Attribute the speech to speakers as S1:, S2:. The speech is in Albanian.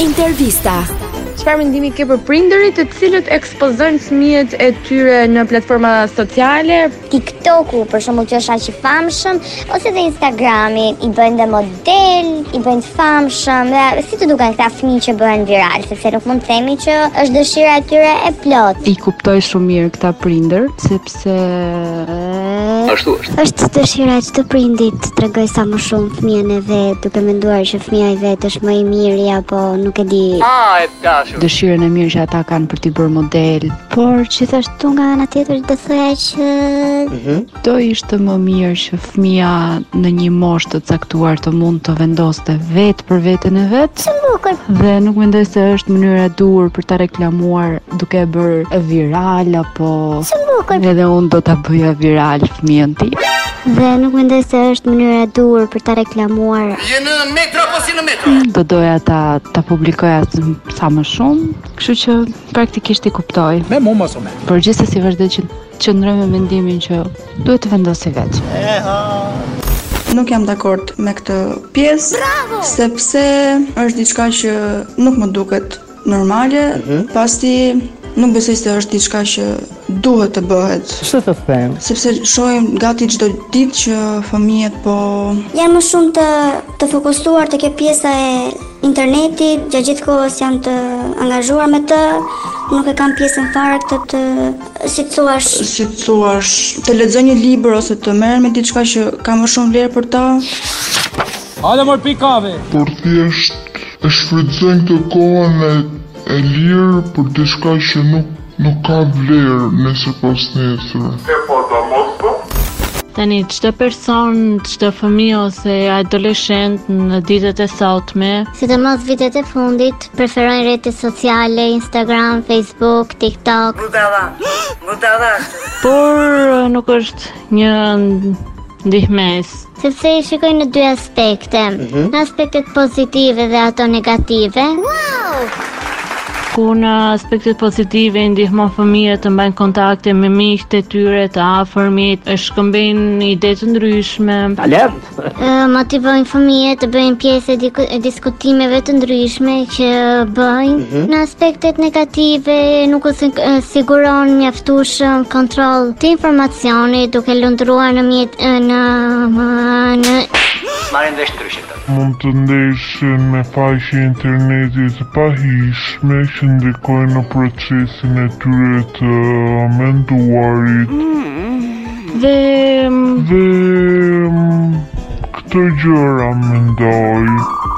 S1: Intervista.
S2: Çfarë mendimi ke për prindërit të cilët ekspozojnë fëmijët e tyre në platforma sociale?
S3: TikToku për shembull që është aq i famshëm ose dhe Instagrami i bëjnë dhe model, i bëjnë të famshëm dhe si të duken këta fëmijë që bëhen viral, sepse nuk mund të themi që është dëshira e tyre e plot.
S4: I kuptoj shumë mirë këta prindër, sepse
S5: Ashtu është.
S6: Është dëshira e çdo prindit të tregoj sa më shumë fëmijën e vet, duke menduar që fëmia e vet është më i miri apo nuk e di.
S5: Ah, e dashur.
S4: dëshirën e mirë që ata kanë për t'i bërë model,
S6: Por gjithashtu nga ana tjetër do thoya që
S4: do ishte më mirë që fëmia në një moshë të caktuar të mund të vendoste vetë për veten e vet
S6: bukur.
S4: dhe nuk mendoj se është mënyra e dur për ta reklamuar duke e bërë viral apo
S6: bukur.
S4: edhe unë do ta bëja viral fëmijën tim.
S6: Dhe nuk mendoj se është mënyra e dur për ta reklamuar.
S5: Je në metro apo si në metro?
S4: Do doja ta ta publikoja s- sa më shumë, kështu që praktikisht i kuptoj.
S7: Me mu mos u me.
S4: Por gjithsesi vazhdoj që qëndroj me mendimin që duhet të vendosi vetë.
S8: Nuk jam dakord me këtë pjesë, sepse është diçka që nuk më duket normale, pasti nuk besoj se është diçka që duhet të bëhet,
S7: Ç'të të them?
S8: sepse shohim gati çdo ditë që fëmijët po
S3: Janë më shumë të të fokusuar tek pjesa e internetit, gjatë gjithë kohës janë të angazhuar me të, nuk e kanë pjesën fare këtë të si thua
S8: si të thuash, të lexoj një libër ose të merrem me diçka që ka më shumë vlerë për ta.
S7: Hajde mor pi kave.
S9: por thjesht e shfrytëzojnë këtë kohën e, e lirë për diçka që nuk nuk ka vlerë nëse pas nesër.
S10: Tani, çdo person, çdo fëmijë ose adoleshent në ditët e sotme,
S6: Sidomos vitet e fundit preferojnë rrjetet sociale, Instagram, Facebook, TikTok.
S10: por eh, nuk është një ndihmes.
S6: sepse i shikojnë në dy aspekte, në aspektet pozitive dhe ato negative.
S10: Ku në aspektet pozitive i ndihmon fëmijët të mbajnë kontakte me miqtë e tyre të afërmit, e shkëmbejnë ide të ndryshme.
S6: Ë, motivojnë fëmijët të bëjnë pjesë e diku- e diskutimeve të ndryshme që bëjnë. Në aspektet negative nuk u sig- ë, siguron mjaftueshëm kontroll të informacionit duke lundruar në mjet ë, në në
S5: Marrin vesh ndryshim tani.
S9: Mund të ndeshin me faqe internetit të pahishme që ndikojnë në procesin e tyre të menduarit
S10: Dhe mm,
S9: dhe mm, këtë gjëra mendoj.